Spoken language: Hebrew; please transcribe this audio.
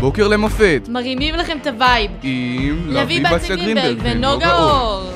בוקר למופת, מרימים לכם את הווייב. עם לביא בת ונוגה אור.